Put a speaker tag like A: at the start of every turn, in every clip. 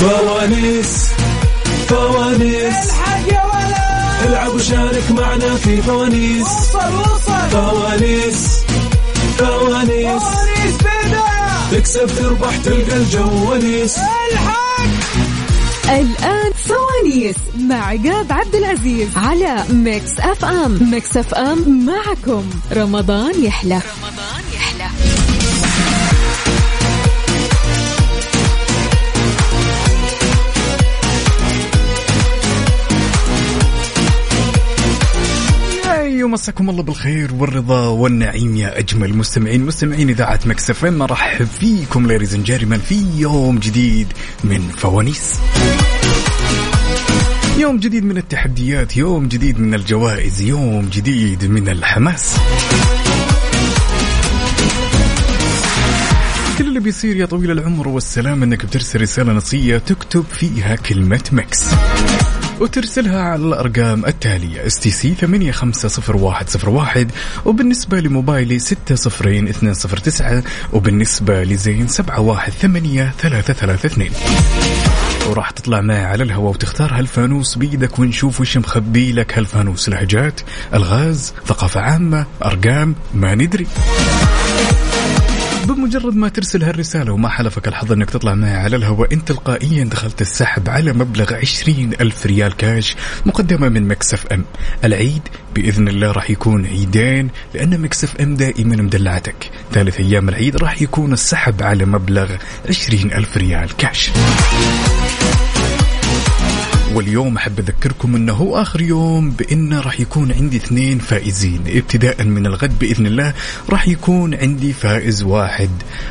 A: فوانيس فوانيس
B: الحق يا ولد
A: العب وشارك معنا في فوانيس
B: وصل وصل
A: فوانيس فوانيس
B: فوانيس بدا
A: تكسب تربح تلقى الجواليس
B: الحق
C: الآن فوانيس مع عقاب عبد العزيز على ميكس أف أم ميكس أف أم معكم رمضان يحلى رمضان يحلى
D: ايوه مساكم الله بالخير والرضا والنعيم يا اجمل مستمعين مستمعين اذاعه مكسف مرحب فيكم ليريز جيرمان في يوم جديد من فوانيس يوم جديد من التحديات يوم جديد من الجوائز يوم جديد من الحماس كل اللي بيصير يا طويل العمر والسلام انك بترسل رساله نصيه تكتب فيها كلمه مكس وترسلها على الأرقام التالية اس تي سي 850101 وبالنسبة لموبايلي 60209 وبالنسبة لزين 718332 وراح تطلع معي على الهواء وتختار هالفانوس بيدك ونشوف وش مخبي لك هالفانوس لهجات الغاز ثقافة عامة أرقام ما ندري بمجرد ما ترسل هالرسالة وما حلفك الحظ انك تطلع معي على الهواء انت تلقائيا دخلت السحب على مبلغ عشرين ألف ريال كاش مقدمة من مكسف ام العيد بإذن الله راح يكون عيدين لأن مكسف ام دائما مدلعتك ثالث أيام العيد راح يكون السحب على مبلغ عشرين ألف ريال كاش واليوم احب اذكركم انه هو اخر يوم بان راح يكون عندي اثنين فائزين ابتداء من الغد باذن الله راح يكون عندي فائز واحد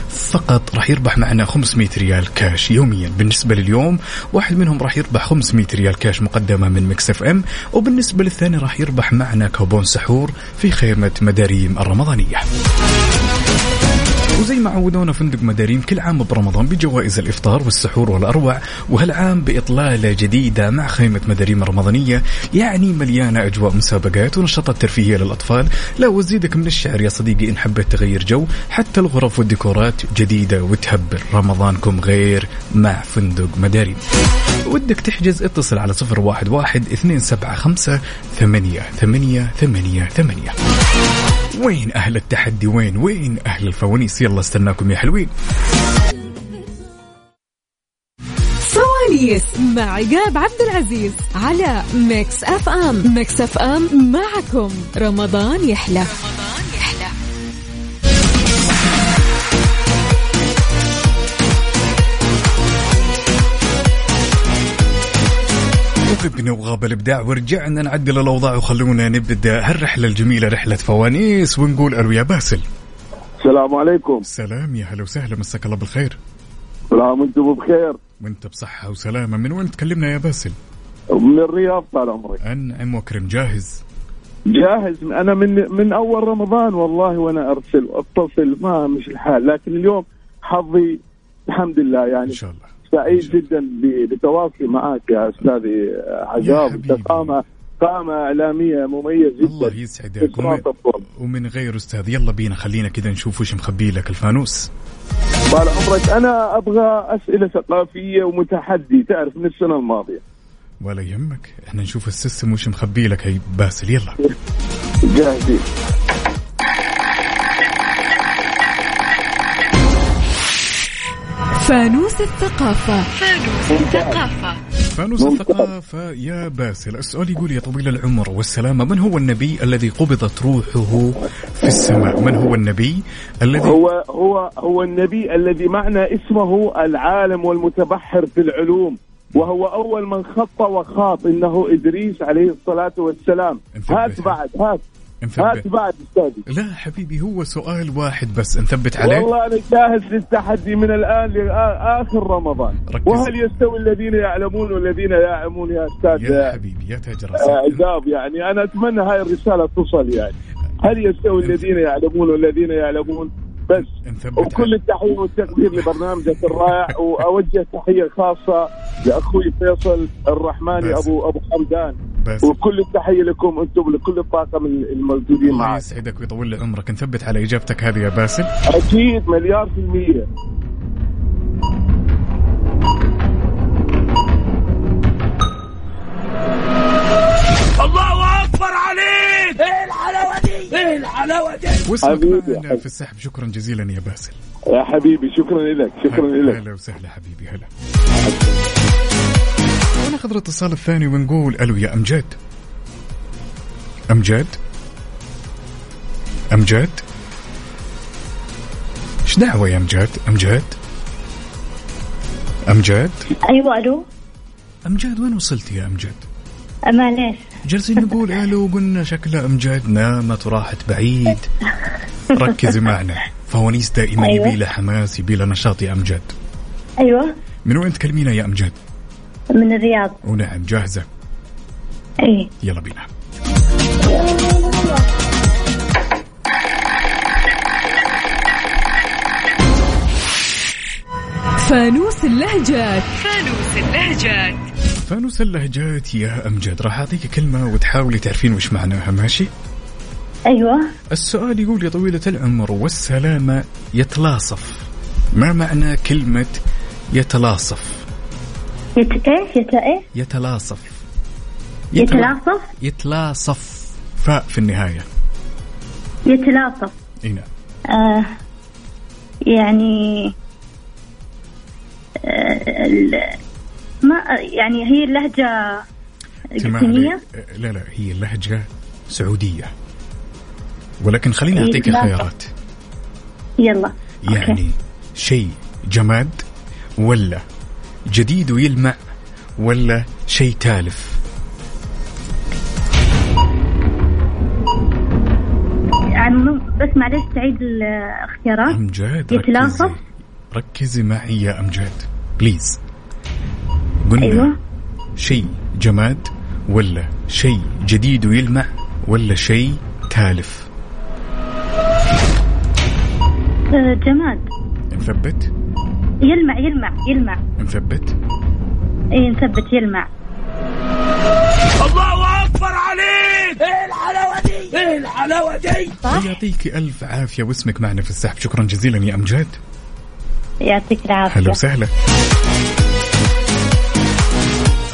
D: فقط راح يربح معنا 500 ريال كاش يوميا بالنسبه لليوم واحد منهم راح يربح 500 ريال كاش مقدمه من مكسف ام وبالنسبه للثاني راح يربح معنا كوبون سحور في خيمه مداريم الرمضانيه وزي ما عودونا فندق مداريم كل عام برمضان بجوائز الافطار والسحور والاروع وهالعام باطلاله جديده مع خيمه مداريم رمضانيه يعني مليانه اجواء مسابقات ونشاطات ترفيهيه للاطفال لا وزيدك من الشعر يا صديقي ان حبيت تغير جو حتى الغرف والديكورات جديده وتهبل رمضانكم غير مع فندق مداريم ودك تحجز اتصل على 011 275 8 8 8 8 وين اهل التحدي وين وين اهل الفوانيس يلا استناكم يا حلوين
C: فوانيس مع عقاب عبد العزيز على ميكس أف أم ميكس أف أم معكم رمضان يحلى رمضان يحلى
D: وغبنا وغاب الابداع ورجعنا نعدل الاوضاع وخلونا نبدا هالرحله الجميله رحله فوانيس ونقول الو يا باسل
E: السلام عليكم
D: سلام يا هلا وسهلا مساك الله بالخير
E: كل عام وانتم بخير
D: وانت بصحه وسلامه من وين تكلمنا يا باسل
E: من الرياض طال عمرك
D: انعم واكرم جاهز
E: جاهز انا من من اول رمضان والله وانا ارسل واتصل ما مش الحال لكن اليوم حظي الحمد لله يعني
D: ان شاء الله إن
E: سعيد
D: شاء الله.
E: جدا ب- بتواصلي معك يا استاذي
D: يا
E: عجاب
D: حبيبي.
E: أنت قامة قامة إعلامية مميز
D: الله
E: جدا
D: يسعدك ومن,
E: تتواصل.
D: ومن غير استاذ يلا بينا خلينا كذا نشوف وش مخبي لك الفانوس
E: طال عمرك أنا أبغى أسئلة ثقافية ومتحدي تعرف من السنة الماضية
D: ولا يهمك احنا نشوف السيستم وش مخبي لك يا باسل يلا
E: جاهزين
C: فانوس الثقافة
D: فانوس
E: ممتاز.
D: الثقافة يا باسل السؤال يقول يا طويل العمر والسلامة من هو النبي الذي قبضت روحه في السماء من هو النبي الذي
E: هو هو هو النبي الذي معنى اسمه العالم والمتبحر في العلوم وهو اول من خط وخاط انه ادريس عليه الصلاه والسلام
D: انتبه.
E: هات بعد هات هات
D: نثبت
E: بعد استاذي
D: لا حبيبي هو سؤال واحد بس نثبت عليه
E: والله انا جاهز للتحدي من الان لاخر رمضان
D: ركز.
E: وهل يستوي الذين يعلمون والذين لا يعلمون يا استاذ
D: يا
E: آه،
D: حبيبي يا تاج راسك
E: عقاب يعني انا اتمنى هاي الرساله توصل يعني هل يستوي الذين يعلمون والذين يعلمون بس
D: نثبت
E: وكل
D: عليه.
E: التحيه والتقدير لبرنامجك الرائع واوجه تحيه خاصه لاخوي فيصل الرحماني
D: بس.
E: ابو ابو حمدان
D: بس
E: وكل التحيه لكم انتم لكل الطاقم الموجودين
D: الله
E: معك
D: يسعدك ويطول لي عمرك نثبت على اجابتك هذه يا باسل
E: اكيد مليار في المية
D: واسمك
E: حبيبي،
D: معنا في السحب شكرا جزيلا يا باسل
E: يا حبيبي شكرا لك شكرا لك
D: هلا وسهلا حبيبي هلا وناخذ الاتصال الثاني ونقول الو يا امجاد امجاد امجاد ايش دعوه يا امجاد امجاد امجاد
F: ايوه الو
D: امجاد وين وصلت يا امجاد
F: معليش
D: جالسين نقول الو قلنا شكلها امجاد نامت وراحت بعيد ركزي معنا فوانيس دائما
F: أيوة.
D: يبي لها حماس يبي لها نشاط يا امجاد
F: ايوه
D: من وين تكلمينا يا امجاد
F: من الرياض
D: ونعم جاهزه
F: اي
D: يلا بينا
C: فانوس اللهجات
D: فانوس اللهجات يا امجد راح اعطيك كلمه وتحاولي تعرفين وش معناها ماشي
F: ايوه
D: السؤال يقول يا طويله العمر والسلامه يتلاصف ما معنى كلمه يتلاصف
F: يت ايش يت ايه
D: يتلاصف يتلا-
F: يتلاصف
D: يتلاصف فاء في النهايه
F: يتلاصف
D: اي نعم
F: آه يعني آه ال- ما يعني هي اللهجة
D: تمام
F: القسيمية
D: عليك. لا لا هي اللهجه سعوديه ولكن خليني اعطيك
F: يتلاصف.
D: خيارات
F: يلا
D: يعني
F: أوكي.
D: شيء جماد ولا جديد ويلمع ولا شيء تالف
F: عم يعني بس معلش تعيد الاختيارات
D: امجاد
F: يتلاصف.
D: ركزي ركزي معي يا امجاد بليز قلنا
F: أيوة.
D: شيء جماد ولا شيء جديد ويلمع ولا شيء تالف
F: آه جماد
D: نثبت
F: يلمع يلمع يلمع
D: نثبت
F: اي نثبت يلمع
D: يعطيك الف عافيه واسمك معنا في السحب شكرا جزيلا يا امجاد
F: يعطيك
D: هلا
F: العافية
D: وسهلا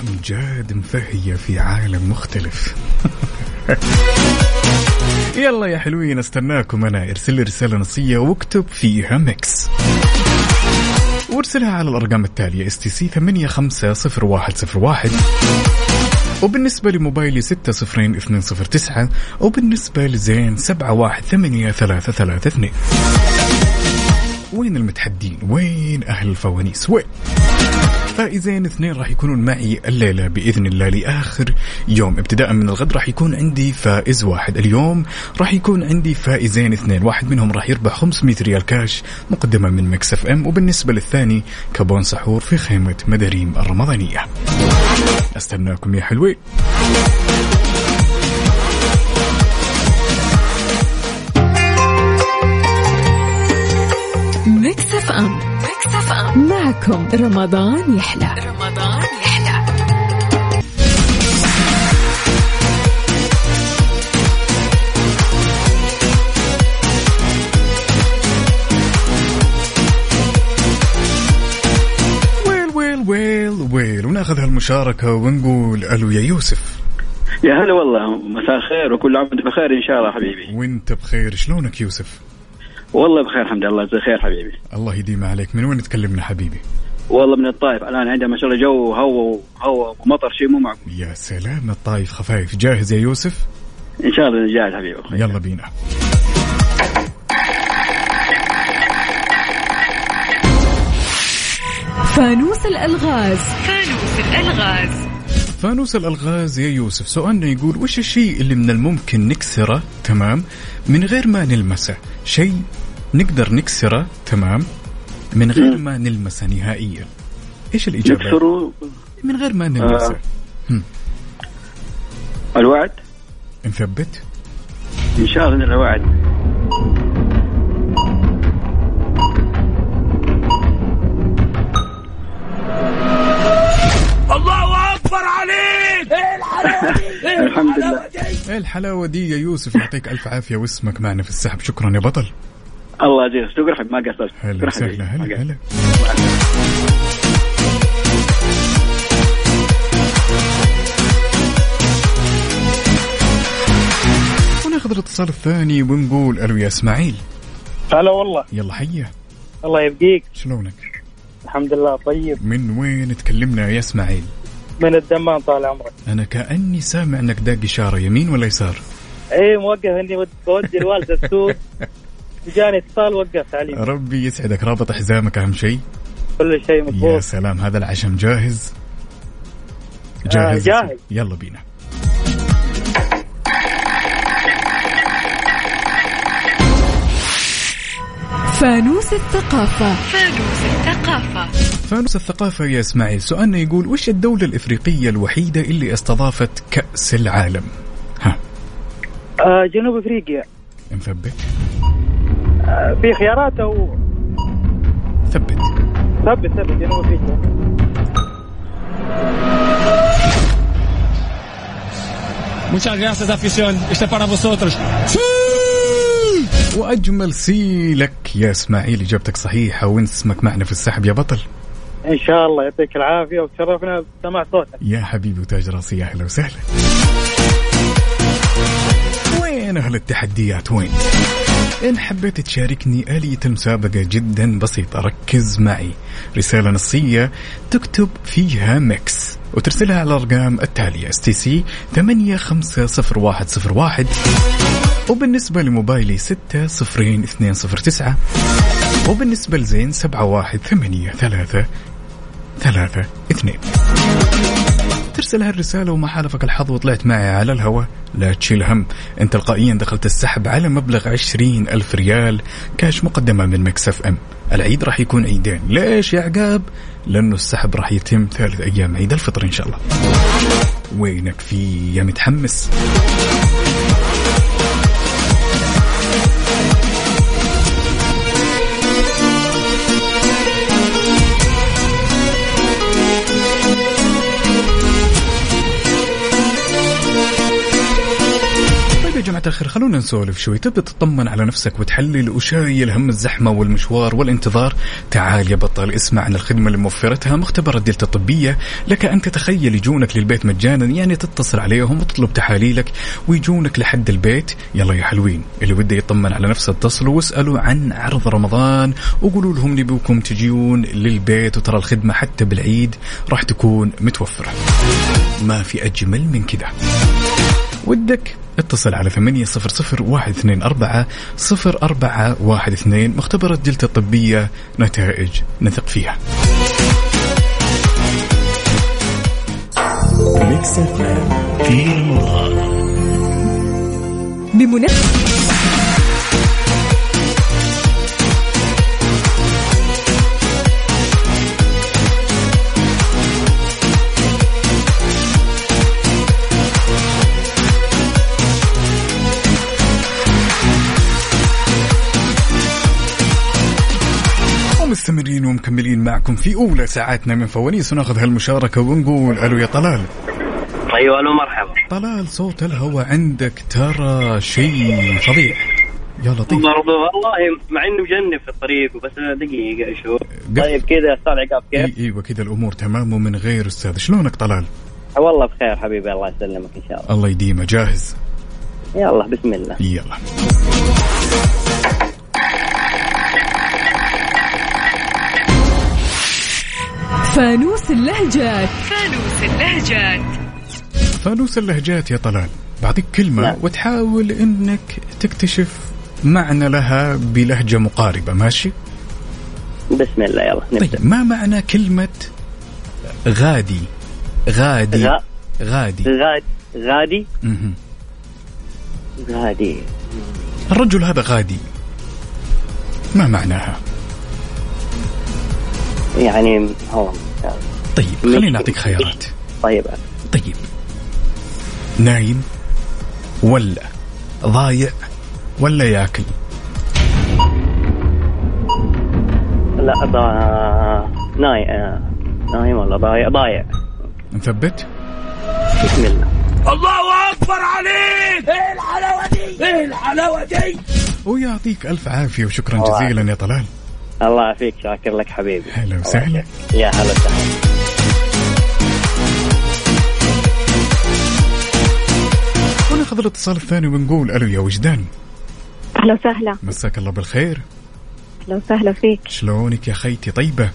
D: امجاد مفهية في عالم مختلف يلا يا حلوين استناكم انا ارسل لي رسالة نصية واكتب فيها ميكس وارسلها على الارقام التالية اس تي سي 850101 وبالنسبة لموبايلي 60209 وبالنسبة لزين 718332 وين المتحدين؟ وين أهل الفوانيس؟ وين؟ فائزين اثنين راح يكونون معي الليلة بإذن الله لآخر يوم ابتداء من الغد راح يكون عندي فائز واحد اليوم راح يكون عندي فائزين اثنين واحد منهم راح يربح 500 ريال كاش مقدمة من مكس اف ام وبالنسبة للثاني كبون سحور في خيمة مداريم الرمضانية استناكم يا حلوين
C: ميكس اف ام ميكس اف ام معكم رمضان يحلى رمضان يحلى
D: ويل ويل ويل ويل وناخذ هالمشاركة ونقول ألو يا يوسف
G: يا هلا والله مساء الخير وكل عام وانت بخير ان شاء الله حبيبي
D: وانت بخير شلونك يوسف؟
G: والله بخير الحمد لله زي خير حبيبي
D: الله يديم عليك من وين تكلمنا حبيبي
G: والله من الطائف الان عندنا ما شاء الله جو وهواء وهواء ومطر شيء مو معقول
D: يا سلام الطايف خفايف جاهز يا يوسف
G: ان شاء الله جاهز حبيبي أخوي.
D: يلا بينا
C: فانوس الالغاز
D: فانوس الالغاز يا يوسف سؤالنا يقول وش الشيء اللي من الممكن نكسره تمام من غير ما نلمسه شيء نقدر نكسره تمام من غير ما نلمسه نهائيا ايش الاجابه
G: نكسروا
D: من غير ما نلمسه
G: الوعد
D: نثبت
G: ان شاء الله نرى الوعد الله اكبر عليك الحمد لله
D: إيه الحلاوه دي يا يوسف يعطيك الف عافيه واسمك معنا في السحب شكرا يا بطل
G: الله يجزيك شكرا حبيبي ما قصرت
D: هلا
G: شكرا حبيبي.
D: وسهلا
G: ما قصرت.
D: هلا هلا وناخذ الاتصال الاتصال الثاني ونقول الو يا اسماعيل
H: هلا والله
D: يلا حيه
H: الله يبقيك
D: شلونك؟
H: الحمد لله طيب
D: من وين تكلمنا يا اسماعيل؟
H: من الدمام طال عمرك
D: انا كاني سامع انك داق اشاره يمين ولا يسار؟
H: اي إيه، موقف اني بود- بودي الوالده السوق جاني اتصال وقفت عليه
D: ربي يسعدك رابط حزامك اهم شيء
H: كل شيء
D: يا
H: مضبوط
D: سلام هذا العشم جاهز
H: آه، جاهز.
D: يلا بينا
C: فانوس الثقافة
D: فانوس الثقافة يا اسماعيل سؤالنا يقول وش الدولة الإفريقية الوحيدة اللي استضافت كأس العالم ها
H: آه جنوب افريقيا
D: مثبت
H: آه في خيارات او
D: ثبت
H: ثبت ثبت جنوب افريقيا
I: Muchas gracias, afición. Este es para vosotros.
D: وأجمل سي لك يا اسماعيل إجابتك صحيحة وانت اسمك معنا في السحب يا بطل
H: ان شاء الله يعطيك العافيه وتشرفنا بسماع صوتك
D: يا حبيبي وتاج راسي يا أهلا وسهلا وين أهل التحديات وين إن حبيت تشاركني آلية المسابقة جدا بسيطة ركز معي رسالة نصية تكتب فيها ميكس وترسلها على الأرقام التالية اس تي سي 850101 وبالنسبة لموبايلي 600209 وبالنسبة لزين 71833 ثلاثة اثنين ترسل هالرسالة وما حالفك الحظ وطلعت معي على الهواء لا تشيل هم انت تلقائيا دخلت السحب على مبلغ عشرين ألف ريال كاش مقدمة من مكسف ام العيد راح يكون عيدين ليش يا عقاب لأنه السحب راح يتم ثالث أيام عيد الفطر إن شاء الله وينك في يا متحمس طيب يا جماعة الخير خلونا نسولف شوي تبي تطمن على نفسك وتحلل وشايل هم الزحمة والمشوار والانتظار تعال يا بطل اسمع عن الخدمة اللي موفرتها مختبرات دلتا الطبية لك أن تتخيل يجونك للبيت مجانا يعني تتصل عليهم وتطلب تحاليلك ويجونك لحد البيت يلا يا حلوين اللي بده يطمن على نفسه اتصلوا واسألوا عن عرض رمضان وقولوا لهم نبيكم تجيون للبيت وترى الخدمة حتى بالعيد راح تكون متوفرة ما في أجمل من كده ودك اتصل على ثمانية صفر صفر واحد اثنين أربعة صفر أربعة واحد اثنين مختبرات دلتا الطبية نتائج نثق فيها
C: بمناسبة
D: ومستمرين ومكملين معكم في أولى ساعاتنا من فوانيس وناخذ هالمشاركة ونقول ألو يا طلال
G: ايوه الو مرحبا
D: طلال صوت الهواء عندك ترى شيء فظيع يا لطيف
G: برضو والله مع انه مجنب في الطريق وبس دقيقه شو
H: طيب كذا استاذ عقاب كيف؟
D: إي- ايوه كذا الامور تمام ومن غير استاذ شلونك طلال
H: والله بخير حبيبي الله يسلمك ان شاء الله
D: الله يديمه جاهز
H: يلا بسم الله
D: يلا
C: فانوس اللهجات
D: فانوس اللهجات يا طلال بعطيك كلمة
H: نعم.
D: وتحاول انك تكتشف معنى لها بلهجة مقاربة ماشي؟
H: بسم الله يلا نبدا
D: طيب ما معنى كلمة غادي؟ غادي
I: طيب.
H: غا-
D: غادي
H: غادي غادي
D: مهم.
H: غادي
D: الرجل هذا غادي ما معناها؟
H: يعني هو
D: طيب خليني نعطيك خيارات
H: طيب
D: طيب نايم ولا ضايع ولا ياكل
H: لا ضا... نايم نايم ولا ضايع ضايع
D: نثبت؟
H: بسم الله
D: ويعطيك الف عافية وشكرا جزيلا يا طلال
H: الله يعافيك شاكر لك حبيبي
D: هلا وسهلا
H: يا هلا وسهلا
D: وناخذ ناخذ الاتصال الثاني ونقول الو يا وجدان
J: اهلا وسهلا
D: مساك الله بالخير
J: اهلا وسهلا فيك
D: شلونك يا خيتي طيبه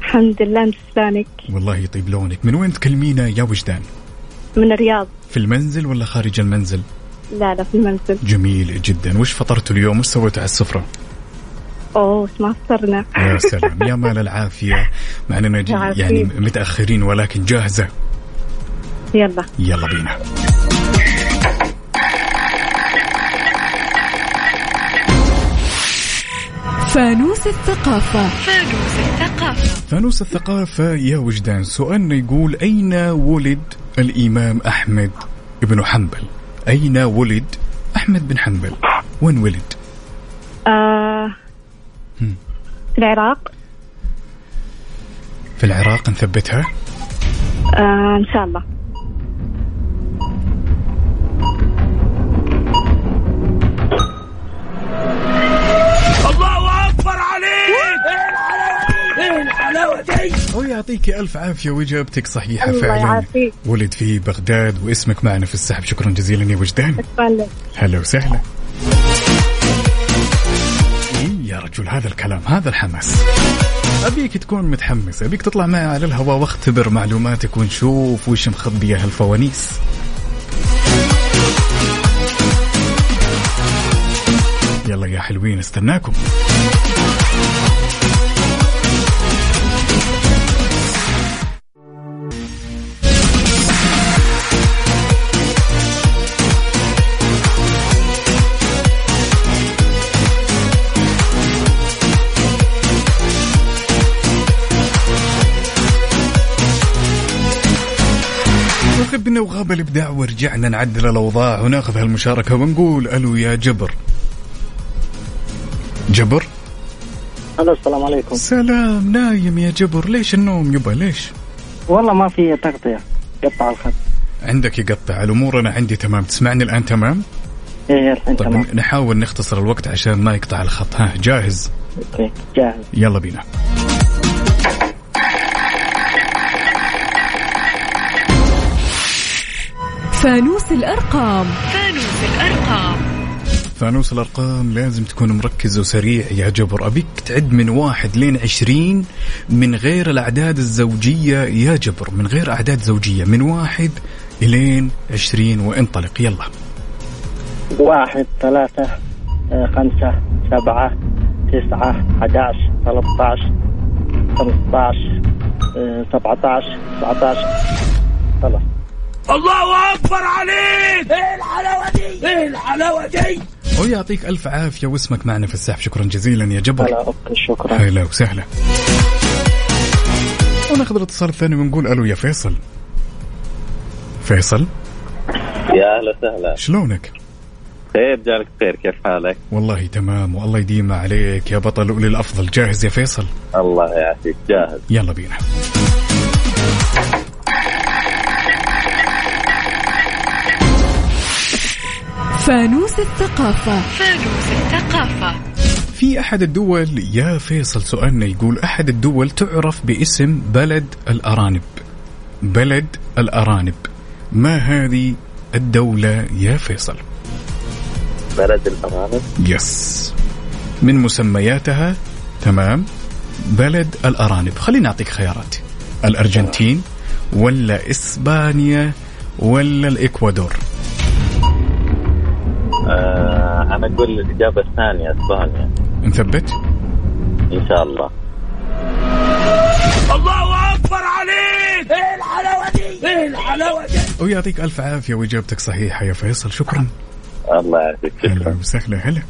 J: الحمد لله مسلانك
D: والله يطيب لونك من وين تكلمينا يا وجدان
J: من الرياض
D: في المنزل ولا خارج المنزل
J: لا لا في المنزل
D: جميل جدا وش فطرتوا اليوم وش سويتوا على السفره
J: اوه ما فطرنا
D: يا سلام يا مال العافيه مع اننا ج-
J: العافية.
D: يعني متاخرين ولكن جاهزه
J: يلا
D: يلا بينا
C: فانوس الثقافة
D: فانوس الثقافة يا وجدان سؤالنا يقول أين ولد الإمام أحمد بن حنبل أين ولد أحمد بن حنبل وين ولد
J: آه
D: هم.
J: في العراق
D: في العراق نثبتها
J: آه ان شاء الله
D: أو يعطيك ألف عافية وإجابتك صحيحة
J: الله
D: فعلا
J: يعافيك.
D: ولد في بغداد واسمك معنا في السحب شكرا جزيلا يا وجدان
J: تفضل
D: هلا وسهلا إيه يا رجل هذا الكلام هذا الحماس أبيك تكون متحمس أبيك تطلع معي على الهواء واختبر معلوماتك ونشوف وش مخبية هالفوانيس يلا يا حلوين استناكم وخبنا وغاب الابداع ورجعنا نعدل الاوضاع وناخذ هالمشاركه ونقول الو يا جبر جبر
H: الو السلام عليكم
D: سلام نايم يا جبر ليش النوم يبا ليش
H: والله ما في تغطيه قطع الخط
D: عندك يقطع الامور انا عندي تمام تسمعني الان تمام
H: ايه الحين
D: طيب
H: تمام
D: نحاول نختصر الوقت عشان ما يقطع الخط ها جاهز
H: اوكي جاهز
D: يلا بينا
C: فانوس الأرقام
D: فانوس الارقام لازم تكون مركز وسريع يا جبر ابيك تعد من واحد لين عشرين من غير الاعداد الزوجيه يا جبر من غير اعداد زوجيه من واحد الين عشرين وانطلق يلا
H: واحد ثلاثة آه، خمسة سبعة تسعة 11 13 15 آه، 17 19 خلاص
D: ويعطيك الف عافيه واسمك معنا في السحب شكرا جزيلا يا
H: هلا
D: جبر
H: اوكي شكرا
D: هلا وسهلا وناخذ الاتصال الثاني ونقول الو يا فيصل فيصل
K: يا اهلا وسهلا
D: شلونك؟
K: خير جالك إيه، خير كيف حالك؟
D: والله تمام والله يديم عليك يا بطل وللأفضل الافضل جاهز يا فيصل
K: الله يعافيك جاهز
D: يلا بينا
C: فانوس الثقافة
D: في احد الدول يا فيصل سؤالنا يقول احد الدول تعرف باسم بلد الارانب بلد الارانب ما هذه الدولة يا فيصل
K: بلد الامانه
D: يس من مسمياتها تمام بلد الارانب خليني اعطيك خيارات الارجنتين ولا اسبانيا ولا الاكوادور
K: آه انا اقول الاجابه الثانيه اسبانيا
D: نثبت
K: ان شاء الله
D: ويعطيك الف عافيه واجابتك صحيحه يا فيصل شكرا
K: الله يعافيك
D: هلا
K: شكرا
D: وسهلا هلا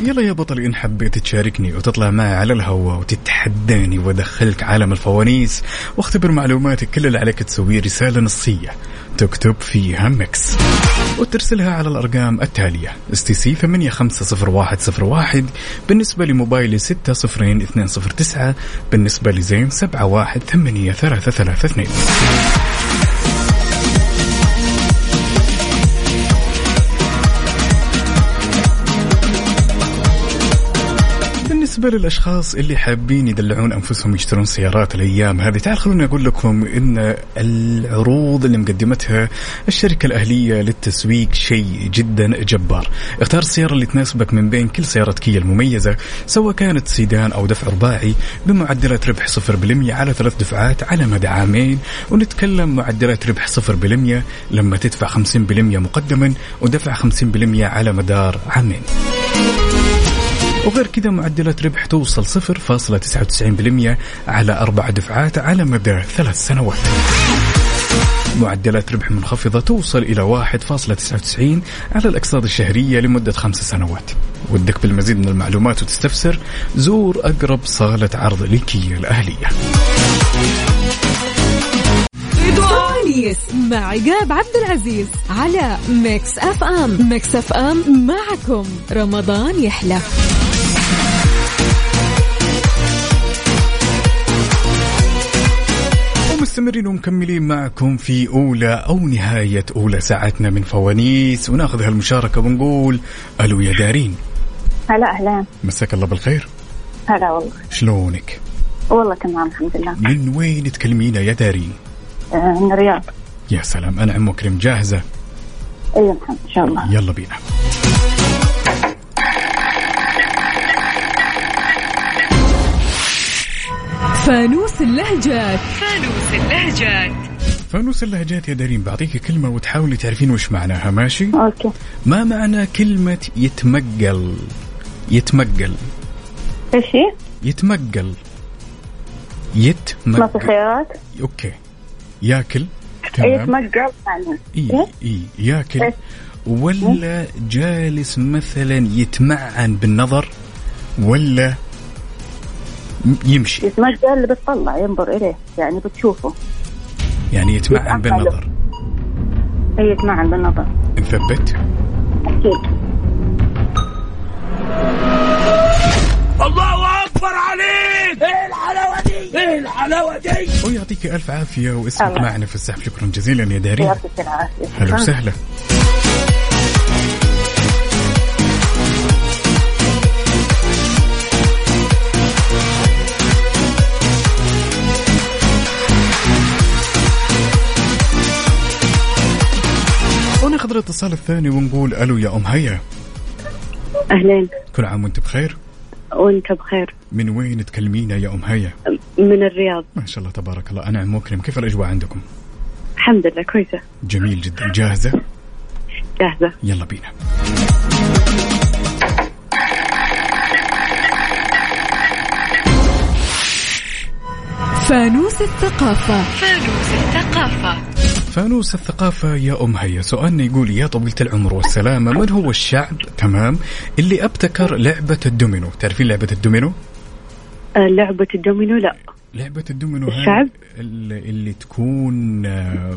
D: يلا يا بطل إن حبيت تشاركني وتطلع معي على الهواء وتتحداني وأدخلك عالم الفوانيس واختبر معلوماتك كل اللي عليك تسويه رسالة نصية تكتب فيها مكس وترسلها على الأرقام التالية اس تي سي 850101 بالنسبة لموبايلي 60209 بالنسبة لزين 718332 بالنسبة بالنسبة للأشخاص اللي حابين يدلعون أنفسهم يشترون سيارات الأيام هذه تعال خلوني أقول لكم إن العروض اللي مقدمتها الشركة الأهلية للتسويق شيء جدا جبار اختار السيارة اللي تناسبك من بين كل سيارات كيا المميزة سواء كانت سيدان أو دفع رباعي بمعدلات ربح 0% على ثلاث دفعات على مدى عامين ونتكلم معدلات ربح 0% لما تدفع 50% مقدما ودفع 50% على مدار عامين وغير كذا معدلات ربح توصل 0.99% على أربع دفعات على مدار ثلاث سنوات معدلات ربح منخفضة توصل إلى 1.99 على الأقساط الشهرية لمدة خمس سنوات ودك بالمزيد من المعلومات وتستفسر زور أقرب صالة عرض لكيا الأهلية
C: سواليس مع عقاب عبد العزيز على ميكس اف ام ميكس اف ام معكم رمضان يحلى
D: ومستمرين ومكملين معكم في أولى أو نهاية أولى ساعتنا من فوانيس وناخذ هالمشاركة ونقول ألو يا دارين
J: هلا أهلا
D: مساك الله بالخير
J: هلا والله
D: شلونك
J: والله تمام الحمد لله
D: من وين تكلمينا يا دارين
J: آه، من الرياض
D: يا سلام أنا عم وكرم جاهزة
J: أي محمد إيه، نعم، إن شاء الله
D: يلا بينا
C: فانوس اللهجات فانوس اللهجات
D: فانوس اللهجات يا دارين بعطيك كلمة وتحاولي تعرفين وش معناها ماشي
J: أوكي
D: ما معنى كلمة يتمقل يتمقل
J: إيش هي؟
D: نعم. يتمقل
J: ما في
D: يتمقل
J: خيارات؟
D: اوكي ياكل
J: أي
D: تمام
J: تمقل يعني
D: اي اي ياكل
J: إيه.
D: ولا جالس مثلا يتمعن بالنظر ولا م- يمشي
J: يتمقل إيه، اللي بتطلع ينظر إليه يعني بتشوفه
D: يعني يتمعن بالنظر
J: أي يتمعن بالنظر
D: نثبت
J: أكيد
B: الله اكبر عليك ايه الحلاوه دي ايه الحلاوه دي
D: ويعطيك الف عافيه واسمك
J: الله.
D: معنا في السحب شكرا جزيلا يا دارين
J: يعطيك العافية
D: هلا
J: شكراً.
D: وسهلا وناخذ الاتصال الثاني ونقول الو يا ام هيا
L: أهلين
D: كل عام وانت بخير
L: وأنت بخير
D: من وين تكلمينا يا ام هيا
L: من الرياض
D: ما شاء الله تبارك الله انا عم مكرم كيف الاجواء عندكم
L: الحمد لله كويسة
D: جميل جدا جاهزه
L: جاهزة
D: يلا بينا
C: فانوس الثقافة فانوس الثقافة
D: فانوس الثقافة يا أم هيا سؤالنا يقول يا طويلة العمر والسلامة من هو الشعب تمام اللي ابتكر لعبة الدومينو تعرفين لعبة الدومينو
L: آه، لعبة الدومينو لا
D: لعبة الدومينو هاي
L: الشعب؟
D: اللي, اللي تكون آه،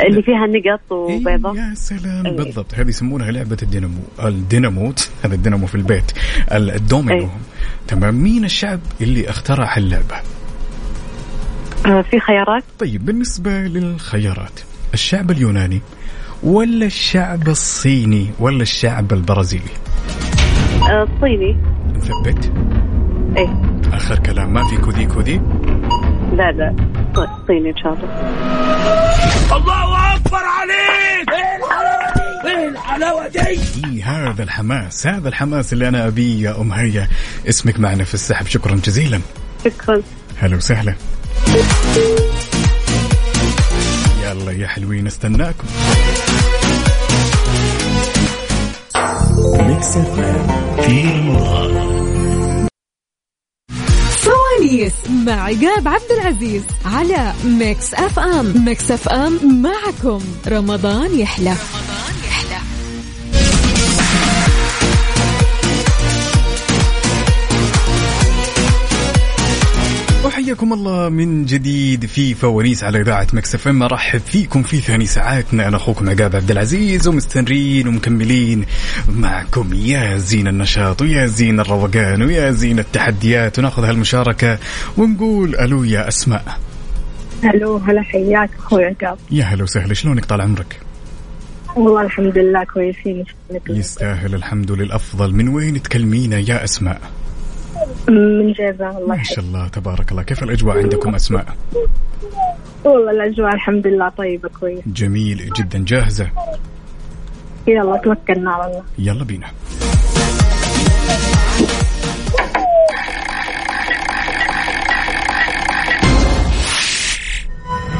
L: اللي فيها نقط وبيضة
D: يا سلام بالضبط هذه يسمونها لعبة الدينامو الدينامو هذا الدينامو في البيت ال- الدومينو تمام مين الشعب اللي اخترع اللعبة
L: آه، في خيارات
D: طيب بالنسبة للخيارات الشعب اليوناني ولا الشعب الصيني ولا الشعب البرازيلي
L: آه، الصيني
D: نثبت
L: إيه
D: اخر كلام ما في كودي كودي
L: لا لا ص- الصيني إن شاء الله
B: الله اكبر عليك ايه الحلاوه دي ايه الحلاوه دي
D: إيه هذا الحماس هذا الحماس اللي انا ابيه يا ام هيا اسمك معنا في السحب شكرا جزيلا
L: شكرا
D: هلا وسهلا يلا يا حلوين استناكم
A: ميكس اف ام في رمضان
C: سواليس مع عقاب عبد العزيز على ميكس اف ام ميكس اف ام معكم رمضان يحلى
D: وحياكم الله من جديد في فوانيس على اذاعه مكسف ام ارحب فيكم في ثاني ساعاتنا انا اخوكم عقاب عبد العزيز ومستمرين ومكملين معكم يا زين النشاط ويا زين الروقان ويا زين التحديات وناخذ هالمشاركه ونقول الو يا اسماء
M: الو هلا حياك اخوي عقاب
D: يا هلا وسهلا شلونك طال عمرك؟
M: والله الحمد لله كويسين إن شاء الله.
D: يستاهل الحمد للافضل من وين تكلمينا يا اسماء؟
M: من جازان الله
D: ما
M: يحفظك
D: شاء الله تبارك الله كيف الأجواء عندكم أسماء
M: والله الأجواء الحمد لله طيبة كويس
D: جميل جدا جاهزة
M: يلا توكلنا على الله
D: يلا بينا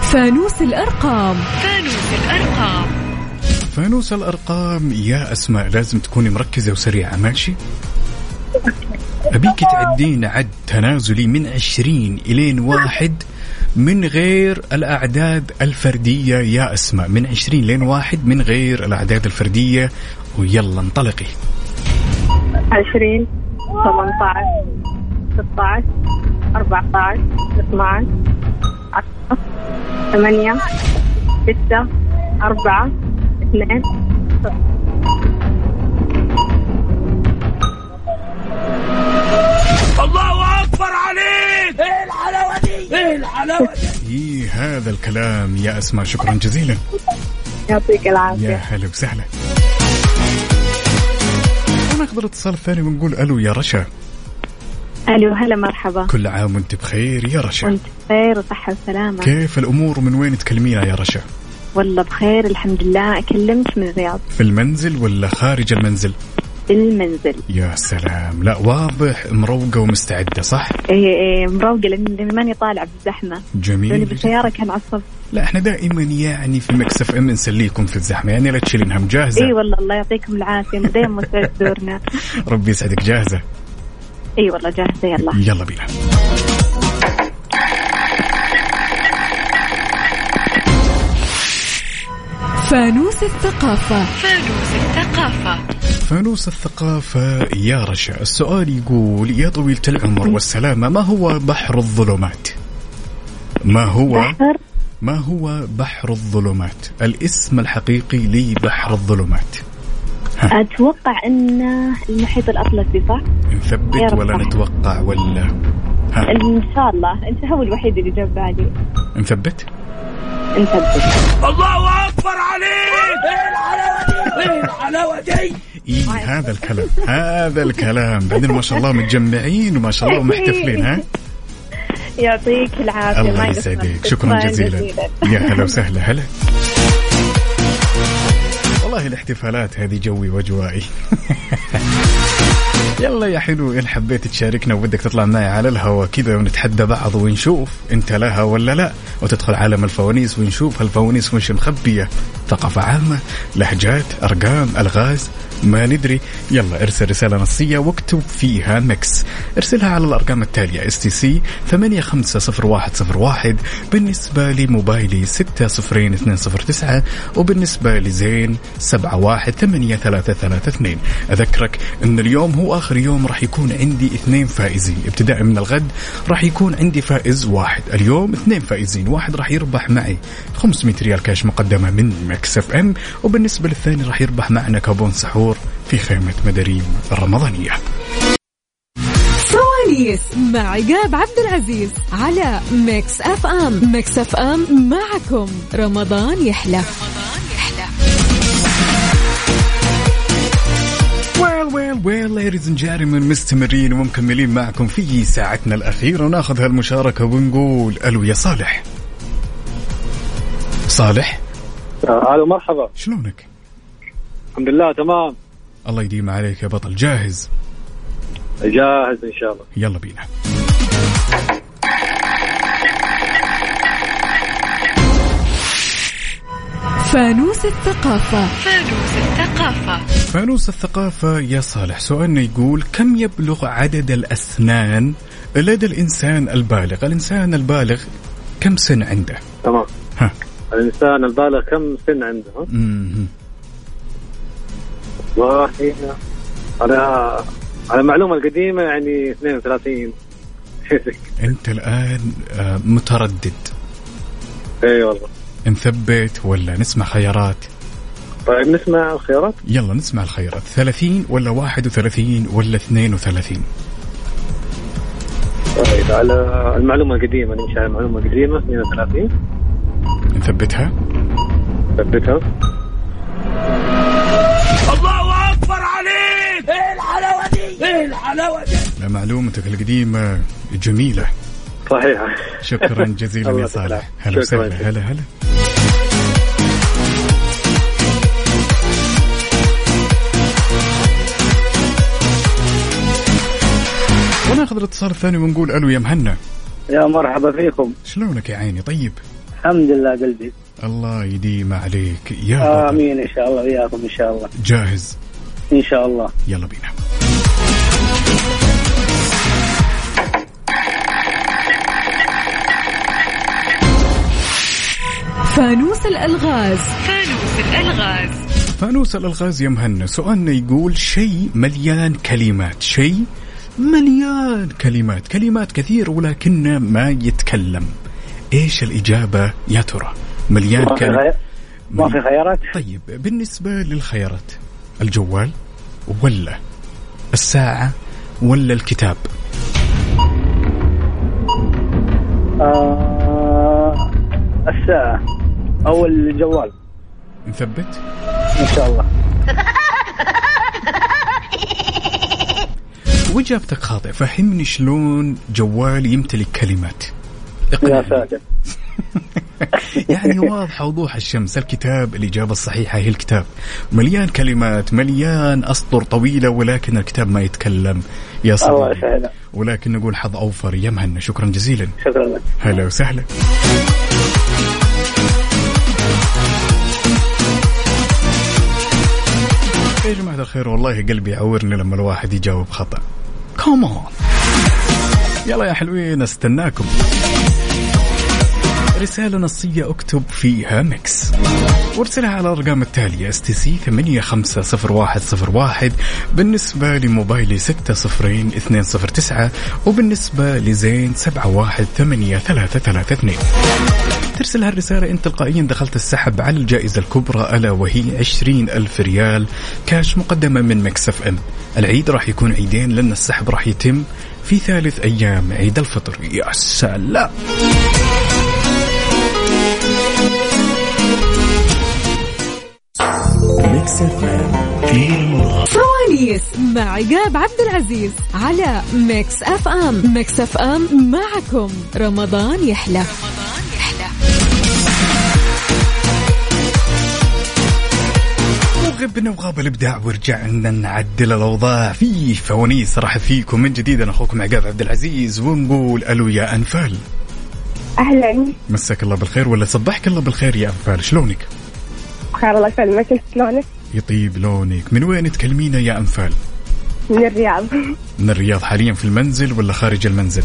C: فانوس الأرقام
N: فانوس الأرقام
D: فانوس الأرقام يا أسماء لازم تكوني مركزة وسريعة ماشي أبيك تعدين عد تنازلي من عشرين إلين واحد من غير الأعداد الفردية يا أسماء من عشرين لين واحد من غير الأعداد الفردية ويلا انطلقي
M: 20 18 16 14 12 10 8 6 4 2
B: الله اكبر عليك ايه الحلاوه دي ايه الحلاوه دي
D: إيه هذا الكلام يا أسماء شكرا جزيلا
M: يعطيك
D: يا
M: العافية
D: هلا وسهلا وناخذ الاتصال الثاني ونقول ألو يا رشا
O: الو هلا مرحبا
D: كل عام وانت بخير يا رشا
O: وانت بخير وصحة وسلامة
D: كيف الأمور ومن وين تكلمينا يا رشا
O: والله بخير الحمد لله اكلمك من الرياض
D: في المنزل ولا خارج المنزل
O: بالمنزل
D: يا سلام لا واضح مروقة ومستعدة صح
O: اي اي مروقة لأني- لاني ماني طالعة إيه، بالزحمة يعني لاني
D: جميل
O: بالسيارة كان عصب
D: لا احنا دائما يعني في مكسف ام نسليكم في الزحمة يعني لا تشيلين هم جاهزة
O: اي والله الله يعطيكم العافية دائما مسعد تزورنا
D: ربي يسعدك جاهزة
O: اي والله جاهزة يلا
D: يلا بينا
C: فانوس الثقافة
N: فانوس الثقافة
D: فانوس الثقافة يا رشا السؤال يقول يا طويلة العمر والسلامة ما هو بحر الظلمات ما هو
O: بحر
D: ما هو بحر الظلمات الاسم الحقيقي لبحر الظلمات
O: اتوقع انه المحيط الاطلسي صح؟ يا
D: نثبت
O: رب
D: ولا
O: صح.
D: نتوقع ولا ها
O: ان شاء الله انت هو الوحيد اللي جاب بالي
D: نثبت
O: نثبت
B: الله اكبر عليك ايه الحلاوه دي ايه الحلاوه دي
D: إيه هذا الكلام هذا الكلام بعدين ما شاء الله متجمعين وما شاء الله محتفلين ها
O: يعطيك العافية ما
D: الله
O: يقصرك.
D: يسعدك شكرا
O: شكراً
D: جزيلا يا هلا وسهلا هلا والله الاحتفالات هذه جوي وجوائي يلا يا حلو ان حبيت تشاركنا وبدك تطلع معي على الهواء كذا ونتحدى بعض ونشوف انت لها ولا لا وتدخل عالم الفوانيس ونشوف هالفوانيس وش مخبيه ثقافه عامه لهجات ارقام الغاز ما ندري يلا ارسل رساله نصيه واكتب فيها مكس ارسلها على الارقام التاليه اس تي سي 850101 بالنسبه لموبايلي 60209 وبالنسبه لزين 718332 اذكرك ان اليوم هو اخر يوم راح يكون عندي اثنين فائزين ابتداء من الغد راح يكون عندي فائز واحد اليوم اثنين فائزين واحد راح يربح معي 500 ريال كاش مقدمه من مكسف ام وبالنسبه للثاني راح يربح معنا كابون سحور في خيمه مداريم الرمضانيه
C: سواليس مع عقاب عبد العزيز على ميكس اف ام ميكس اف ام معكم رمضان يحلى
D: ويل ويل ويل ليريز اند جيرمان مستمرين ومكملين معكم في ساعتنا الاخيره وناخذ هالمشاركه ونقول الو يا صالح صالح
P: آه، الو مرحبا
D: شلونك؟
P: الحمد لله تمام
D: الله يديم عليك يا بطل جاهز
P: جاهز ان شاء الله
D: يلا بينا
C: فانوس الثقافة
N: فانوس الثقافة
D: فانوس الثقافة يا صالح سؤالنا يقول كم يبلغ عدد الأسنان لدى الإنسان البالغ الإنسان البالغ كم سن عنده
P: تمام
D: ها.
P: الانسان البالغ كم سن عنده؟ ها؟
D: مم.
P: والله على على المعلومه القديمه يعني 32
D: أنت الآن آه، متردد
P: اي والله
D: نثبت ولا نسمع خيارات
P: طيب نسمع الخيارات
D: يلا نسمع الخيارات 30 ولا 31 ولا 32
P: طيب على المعلومه القديمه نمشي على المعلومه القديمه 32
D: نثبتها
P: ثبتها
B: الله اكبر عليك ايه الحلاوه دي ايه الحلاوه دي
D: على معلومتك القديمة جميلة
P: صحيحة
D: شكرا جزيلا يا
P: الله
D: صالح
P: يسلمك.
D: هلا
P: شكراً.
D: وسهلا هلا هلا وناخذ الاتصال الثاني ونقول الو يا مهنا
Q: يا مرحبا فيكم
D: شلونك يا عيني طيب
Q: الحمد لله قلبي
D: الله يديم عليك يا بطل
Q: امين ان شاء الله وياكم ان شاء الله
D: جاهز
Q: ان شاء الله
D: يلا بينا
C: فانوس الألغاز
N: فانوس الألغاز
D: فانوس الالغاز يا مهنا سؤالنا يقول شيء مليان كلمات شيء مليان كلمات كلمات كثير ولكنه ما يتكلم ايش الاجابه يا ترى مليان
Q: ما في
D: كلمات
Q: غير- ما في خيارات
D: طيب بالنسبة للخيارات الجوال ولا الساعة ولا الكتاب
Q: آه الساعة أو الجوال
D: نثبت
Q: إن شاء الله
D: وإجابتك خاطئة فهمني شلون جوال يمتلك كلمات
Q: يا ساتر
D: يعني واضحة وضوح الشمس الكتاب الإجابة الصحيحة هي الكتاب مليان كلمات مليان أسطر طويلة ولكن الكتاب ما يتكلم يا
Q: الله
D: صديقي
Q: يسعدك
D: ولكن نقول حظ أوفر يا مهنا شكرا جزيلا
Q: شكرا لك
D: هلا وسهلا يا جماعة الخير والله قلبي يعورني لما الواحد يجاوب خطأ كومون يلا يا حلوين استناكم رسالة نصية اكتب فيها ميكس وارسلها على الأرقام التالية اس تي سي 850101 بالنسبة لموبايلي 60209 وبالنسبة لزين 718332 ترسل هالرسالة انت تلقائيا دخلت السحب على الجائزة الكبرى ألا وهي 20 ألف ريال كاش مقدمة من مكسف ام العيد راح يكون عيدين لأن السحب راح يتم في ثالث أيام عيد الفطر يا سلام
A: ميكس اف ام في رمضان
C: فوانيس مع عقاب عبد العزيز على ميكس اف ام ميكس اف ام معكم رمضان يحلى
D: وغبنا وغاب الابداع ورجعنا نعدل الاوضاع في فوانيس راح فيكم من جديد انا اخوكم عقاب عبد العزيز ونقول الو يا انفال
M: اهلا
D: مساك الله بالخير ولا صبحك الله بالخير يا انفال شلونك؟
M: بخير الله يسلمك انت شلونك؟
D: يطيب لونك من وين تكلمينا يا انفال؟
M: من الرياض
D: من الرياض حاليا في المنزل ولا خارج المنزل؟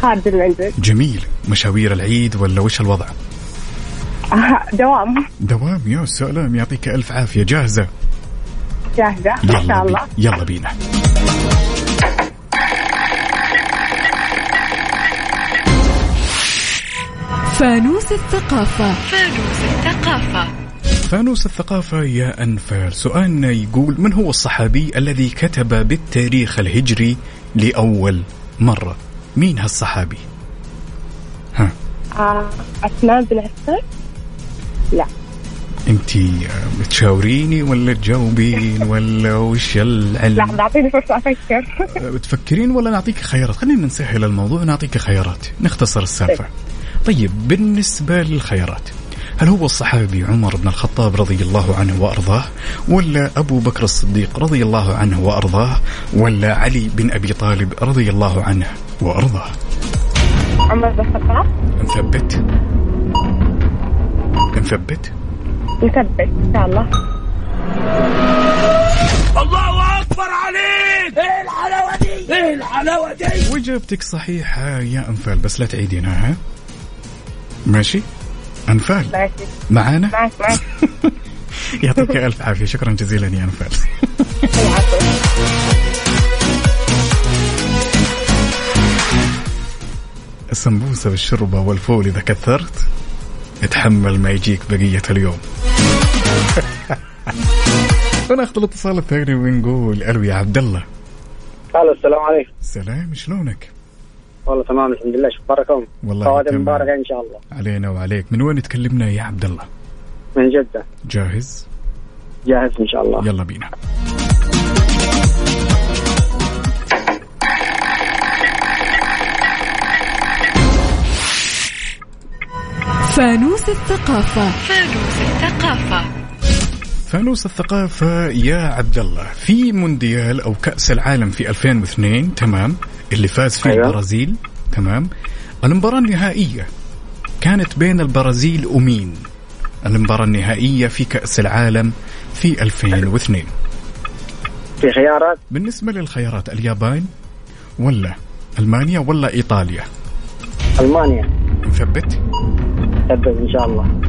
M: خارج المنزل
D: جميل مشاوير العيد ولا وش الوضع؟
M: آه، دوام
D: دوام يا سلام يعطيك الف عافيه جاهزه
M: جاهزه ان
D: يلا
M: شاء
D: بي.
M: الله
D: يلا بينا
C: فانوس الثقافة
N: فانوس الثقافة
D: فانوس الثقافة يا أنفال سؤالنا يقول من هو الصحابي الذي كتب بالتاريخ الهجري لأول مرة مين هالصحابي ها
M: آه، عثمان بن عفان لا
D: انتي آه، بتشاوريني ولا تجاوبين ولا وش العلم
M: لحظه اعطيني فرصه افكر
D: آه، بتفكرين ولا نعطيك خيارات خلينا نسهل الموضوع نعطيك خيارات نختصر السالفة طيب بالنسبة للخيارات هل هو الصحابي عمر بن الخطاب رضي الله عنه وارضاه ولا ابو بكر الصديق رضي الله عنه وارضاه ولا علي بن ابي طالب رضي الله عنه وارضاه
M: عمر بن الخطاب
D: نثبت نثبت
M: نثبت ان شاء الله
B: الله اكبر عليك ايه الحلاوه دي ايه الحلاوه دي
D: واجابتك صحيحه يا انفال بس لا تعيدينها ها ماشي انفال
M: ماشي
D: معانا
M: معك معك
D: يعطيك الف عافيه شكرا جزيلا يا انفال السمبوسه والشربه والفول اذا كثرت اتحمل ما يجيك بقيه اليوم وناخذ الاتصال الثاني ونقول الو يا عبد الله
P: هلا السلام عليكم
D: سلام شلونك
P: والله تمام الحمد لله شو اخباركم؟
D: والله
P: خواتم
D: تمام.
P: مباركة ان شاء الله
D: علينا وعليك من وين تكلمنا يا عبد الله
P: من جدة
D: جاهز
P: جاهز ان شاء الله
D: يلا بينا
C: فانوس الثقافة
N: فانوس الثقافة
D: فانوس الثقافة يا عبد الله في مونديال أو كأس العالم في 2002 تمام اللي فاز فيه
Q: أيوة.
D: البرازيل تمام المباراة النهائية كانت بين البرازيل ومين المباراة النهائية في كأس العالم في 2002
Q: في خيارات
D: بالنسبة للخيارات اليابان ولا ألمانيا ولا إيطاليا
Q: المانيا
D: نثبت
Q: ثبت ان شاء الله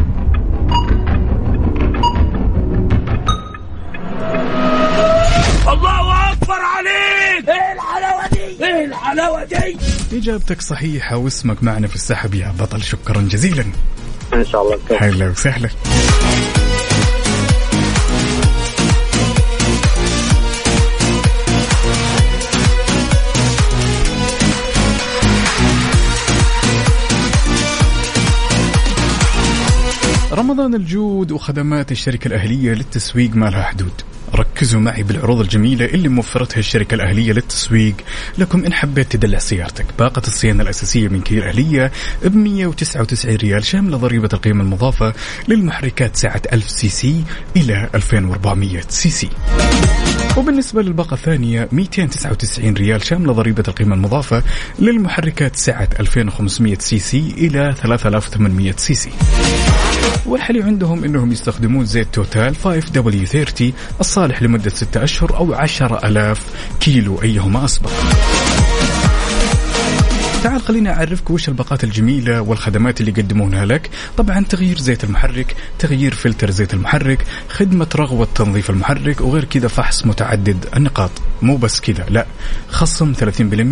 B: الله اكبر عليك ايه الحلاوه دي ايه الحلاوه دي
D: إجابتك صحيحة واسمك معنا في السحب يا بطل شكرا جزيلا
Q: ان شاء الله بخير.
D: هلا وسهلا رمضان الجود وخدمات الشركة الأهلية للتسويق ما لها حدود ركزوا معي بالعروض الجميلة اللي موفرتها الشركة الأهلية للتسويق لكم إن حبيت تدلع سيارتك باقة الصيانة الأساسية من كير أهلية ب 199 ريال شاملة ضريبة القيمة المضافة للمحركات سعة 1000 سي سي إلى 2400 سي سي وبالنسبة للباقة الثانية 299 ريال شاملة ضريبة القيمة المضافة للمحركات سعة 2500 سي سي إلى 3800 سي سي والحلو عندهم انهم يستخدمون زيت توتال 5W30 الصالح لمدة 6 اشهر او 10000 كيلو ايهما اسبق. تعال خليني اعرفك وش الباقات الجميله والخدمات اللي يقدمونها لك، طبعا تغيير زيت المحرك، تغيير فلتر زيت المحرك، خدمه رغوه تنظيف المحرك وغير كذا فحص متعدد النقاط، مو بس كذا لا، خصم 30%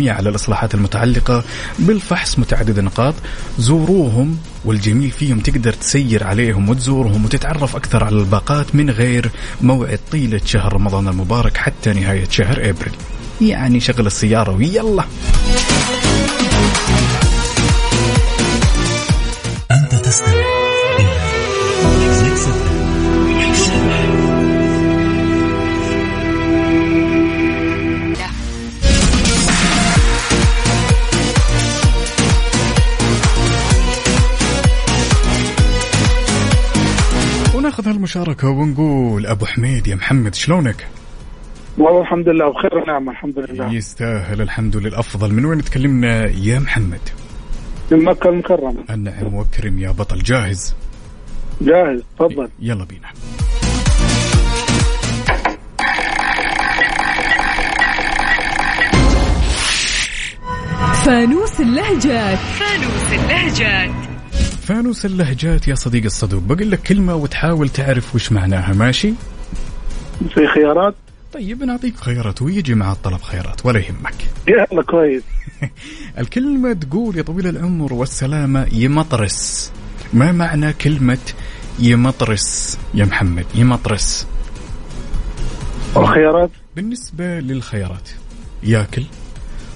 D: على الاصلاحات المتعلقه بالفحص متعدد النقاط، زوروهم والجميل فيهم تقدر تسير عليهم وتزورهم وتتعرف اكثر على الباقات من غير موعد طيله شهر رمضان المبارك حتى نهايه شهر ابريل. يعني شغل السياره ويلا
A: أنت تستمع إلى ميكس اف ام ميكس اف ام
D: وناخذ هالمشاركة ونقول أبو حميد يا محمد شلونك؟
R: والله الحمد لله بخير ونعمة الحمد
E: نعم.
R: لله
D: يستاهل الحمد لله الأفضل من وين تكلمنا يا محمد؟
R: من مكة المكرمة
D: النعم وكرم يا بطل جاهز
R: جاهز تفضل
D: يلا بينا
C: فانوس اللهجات
N: فانوس اللهجات
D: فانوس اللهجات يا صديق الصدوق بقول لك كلمة وتحاول تعرف وش معناها ماشي
R: في خيارات
D: طيب نعطيك خيارات ويجي مع الطلب خيارات ولا يهمك
R: يلا كويس
D: الكلمة تقول يا طويل العمر والسلامة يمطرس ما معنى كلمة يمطرس يا محمد يمطرس
R: والخيارات
D: بالنسبة للخيارات ياكل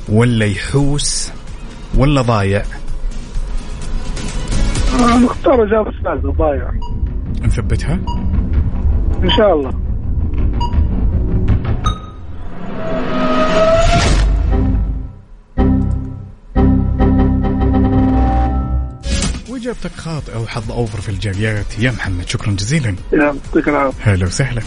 D: ولا يحوس ولا ضايع
R: آه، نختار إجابة السادسة ضايع
D: نثبتها
R: إن شاء الله
D: واجابتك خاطئة وحظ اوفر في الجاليات يا محمد شكرا جزيلا
R: يعطيك العافية
D: هلا وسهلا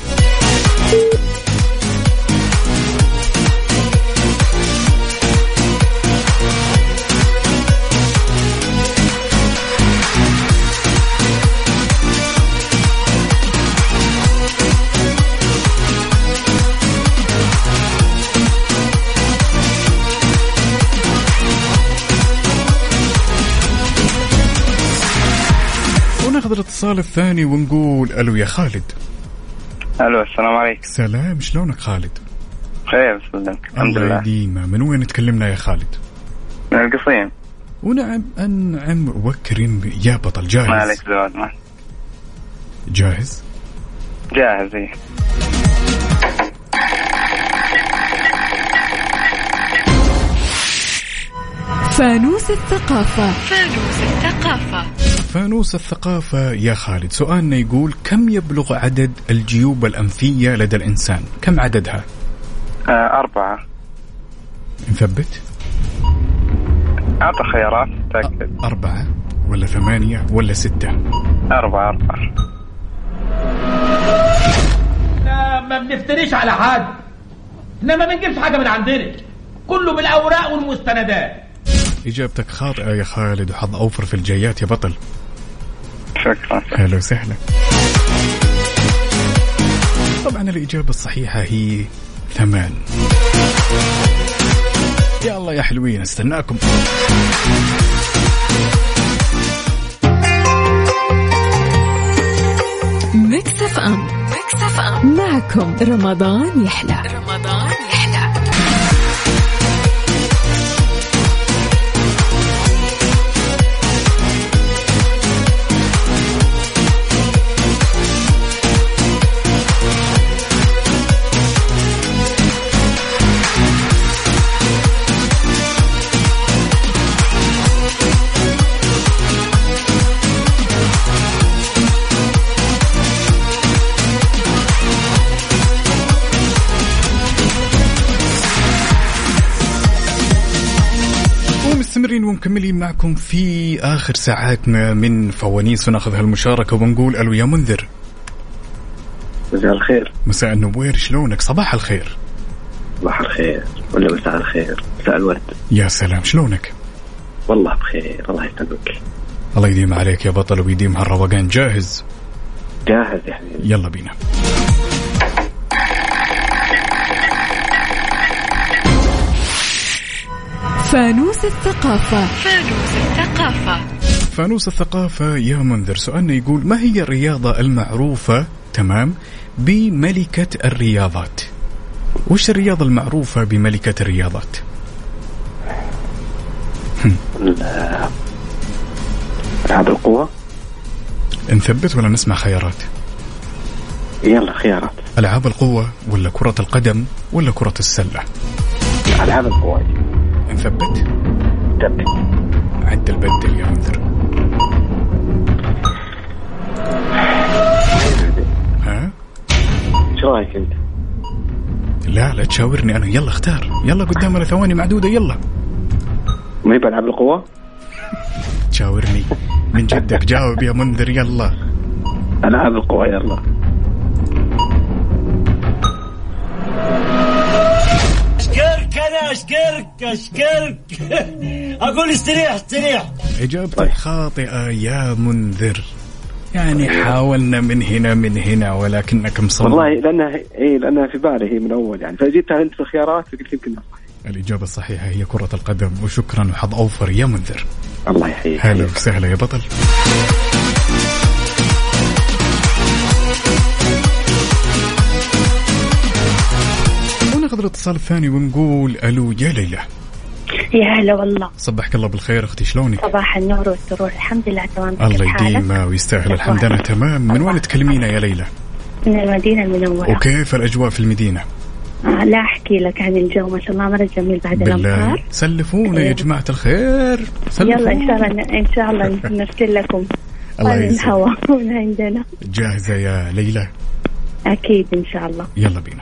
D: وناخذ الاتصال الثاني ونقول الو يا خالد
S: الو السلام عليكم
D: سلام شلونك خالد
S: بخير سلمك الحمد
D: الله
S: لله
D: يديمه من وين تكلمنا يا خالد
S: من القصيم
D: ونعم انعم وكرم يا بطل
S: ما
D: جاهز
S: عليك زود ما
D: جاهز
S: جاهز إيه.
C: فانوس الثقافة
N: فانوس الثقافة
D: فانوس الثقافة يا خالد سؤالنا يقول كم يبلغ عدد الجيوب الأنفية لدى الإنسان كم عددها
S: آه أربعة
D: نثبت
S: أعطى خيارات تأكد
D: أربعة ولا ثمانية ولا ستة
G: أربعة أربعة
T: ما بنفتريش على حد احنا ما بنجيبش حاجة من عندنا كله بالأوراق والمستندات
D: إجابتك خاطئة يا خالد وحظ أوفر في الجايات يا بطل
G: شكرا
D: أهلا وسهلا طبعا الإجابة الصحيحة هي ثمان يا الله يا حلوين استناكم
C: ميكس اف ام ميكس اف ام معكم رمضان يحلى رمضان يحلى
D: ومستمرين ومكملين معكم في آخر ساعاتنا من فوانيس وناخذ هالمشاركة ونقول ألو يا منذر
E: مساء الخير
D: مساء النوير شلونك صباح الخير
E: صباح الخير ولا مساء الخير مساء الورد
D: يا سلام شلونك
E: والله بخير الله يسلمك
D: الله يديم عليك يا بطل ويديم هالروقان جاهز
E: جاهز يا حبيبي
D: يلا بينا
C: فانوس الثقافة
U: فانوس الثقافة
D: فانوس الثقافة يا منذر سؤالنا يقول ما هي الرياضة المعروفة تمام بملكة الرياضات وش الرياضة المعروفة بملكة الرياضات
E: ال- ألعاب القوة
D: نثبت ولا نسمع خيارات
E: يلا خيارات
D: ألعاب القوة ولا كرة القدم ولا كرة السلة
E: ألعاب القوة
D: نثبت
E: تبت
D: عدل بدل يا منذر ها
E: ايش رايك انت؟
D: لا لا تشاورني أنا يلا اختار يلا قدامنا ثواني معدودة يلا
E: ما هي بألعاب القوة؟
D: تشاورني من جدك جاوب يا منذر يلا
E: ألعاب القوة يلا
V: اشكرك انا اشكرك اشكرك اقول استريح استريح
D: إجابتك خاطئة يا منذر يعني حاولنا من هنا من هنا ولكنك مصمم
E: والله لأنها إيه لأنها في بالي هي من أول يعني فجيتها أنت في الخيارات قلت يمكن
D: الإجابة الصحيحة هي كرة القدم وشكرا وحظ أوفر يا منذر
E: الله يحييك
D: هلا وسهلا يا بطل وناخذ الاتصال الثاني ونقول ألو يا ليلى
J: يا هلا والله
D: صبحك الله بالخير أختي شلونك؟
J: صباح النور والسرور الحمد لله تمام كيف
D: الله
J: حالك؟
D: يديمها ويستاهل الحمد أنا تمام من وين تكلمينا يا ليلى؟
J: من المدينة المنورة
D: وكيف الأجواء في المدينة؟
J: آه لا أحكي لك عن الجو ما شاء الله مرة جميل بعد
D: بالله
J: الأمطار
D: سلفونا يا جماعة الخير
J: إيه. يلا إن شاء
D: سلفونا
J: الله إن شاء الله نرسل لكم
D: الله
J: من
D: يسلمك.
J: هوا من عندنا
D: جاهزة يا ليلى
J: أكيد إن شاء الله
D: يلا بينا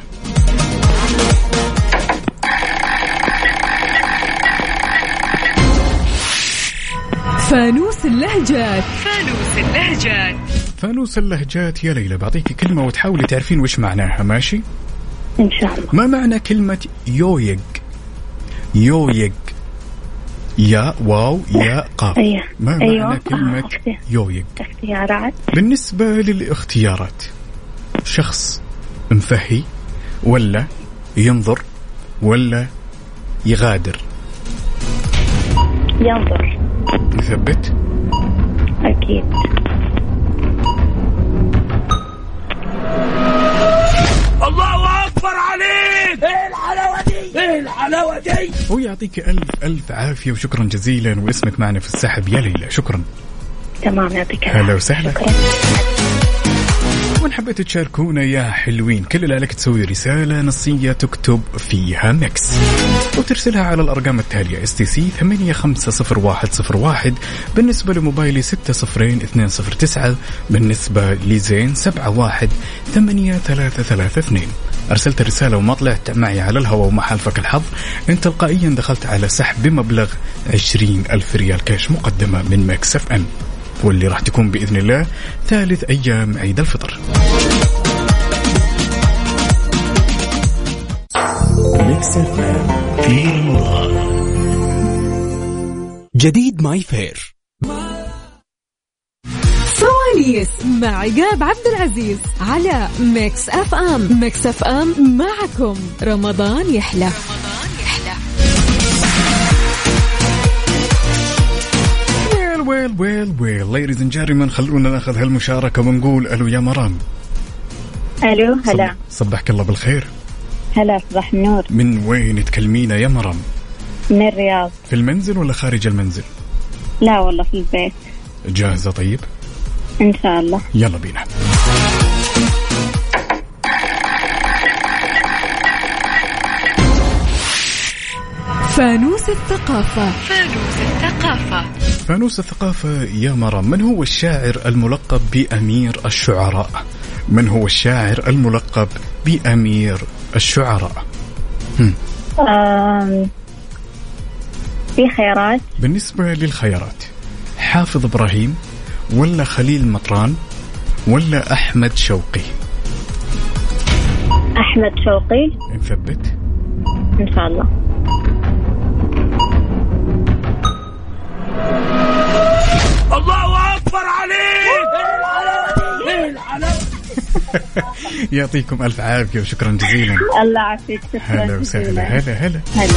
C: فانوس اللهجات
U: فانوس اللهجات
D: فانوس اللهجات يا ليلى بعطيك كلمة وتحاولي تعرفين وش معناها ماشي؟
J: إن شاء الله
D: ما معنى كلمة يويق؟ يويق يا واو يا قاف
J: أيوه.
D: ما
J: أيوه.
D: معنى
J: آه،
D: كلمة
J: أختي.
D: يويق؟
J: اختيارات
D: بالنسبة للاختيارات شخص مفهي ولا ينظر ولا يغادر
J: ينظر
D: نثبت
J: أكيد
V: الله اكبر عليك ايه الحلاوه دي ايه الحلاوه دي
D: ويعطيك ألف ألف عافية وشكرا جزيلا واسمك معنا في السحب يا ليلى شكرا
J: تمام يعطيك
D: هلا
J: العافية.
D: وسهلا
J: شكرا.
D: وإن حبيت تشاركونا يا حلوين كل اللي عليك تسوي رسالة نصية تكتب فيها ميكس وترسلها على الأرقام التالية اس تي سي 850101 بالنسبة لموبايلي 60209 بالنسبة لزين 718332 ارسلت الرساله وما طلعت معي على الهواء وما حالفك الحظ انت تلقائيا دخلت على سحب بمبلغ 20 ألف ريال كاش مقدمه من مكس اف ام واللي راح تكون باذن الله ثالث ايام عيد الفطر
A: ميكس اف ام في رمضان
E: جديد ماي فير
C: سواليس مع عقاب عبد العزيز على ميكس اف ام ميكس اف ام معكم رمضان يحلى
D: ويل ويل ويل ويل ليديز اند جيرمان خلونا ناخذ هالمشاركه ونقول الو يا مرام
J: الو هلا
D: صبحك الله بالخير
J: هلا صباح النور
D: من وين تكلمينا يا مرام
J: من الرياض
D: في المنزل ولا خارج المنزل
J: لا والله في البيت
D: جاهزه طيب
J: ان شاء الله
D: يلا بينا
C: فانوس الثقافة
N: فانوس الثقافة
D: فانوس الثقافة يا مرام من هو الشاعر الملقب بأمير الشعراء من هو الشاعر الملقب بأمير الشعراء هم.
J: آم، في خيارات
D: بالنسبة للخيارات حافظ إبراهيم ولا خليل مطران ولا أحمد شوقي
J: احمد شوقي
D: نثبت
J: ان شاء الله
B: الله اكبر عليك ايه الحلاوه دي؟ ايه الحلاوه
D: يعطيكم ألف عافية وشكرا جزيلا
J: الله يعافيك شكرا
D: هلا وسهلا هلا هلا
J: هلا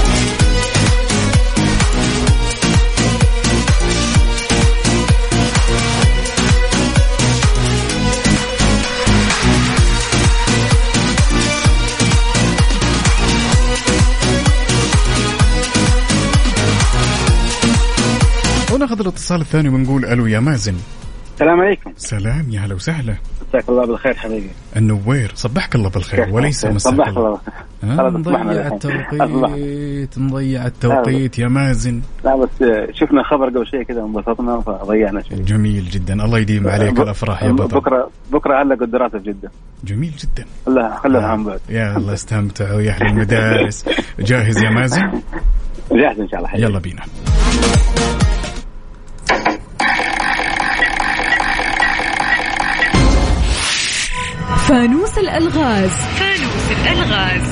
D: وناخذ الاتصال الثاني ونقول ألو يا مازن
Q: السلام عليكم
D: سلام يا هلا وسهلا
Q: مساك الله بالخير حبيبي
D: النوير صبحك الله بالخير وليس مساك
Q: صباحك
D: الله
Q: الله بالخير
D: آه،
Q: خلاص، أصبحنا أه. الحين.
D: مضيع التوقيت مضيع التوقيت يا مازن
Q: لا بس آه، شفنا خبر قبل شوي كذا انبسطنا فضيعنا شوي
D: جميل جدا الله يديم
Q: أه.
D: عليك الافراح يا بطل
Q: بكره بكره علقوا الدراسه في جده
D: جميل جدا
Q: لا
D: آه.
Q: خلوها عن بعد
D: يا الله استمتعوا يا اهل المدارس جاهز يا مازن
Q: جاهز ان شاء الله حبيبي
D: يلا بينا
C: فانوس الألغاز
N: فانوس الألغاز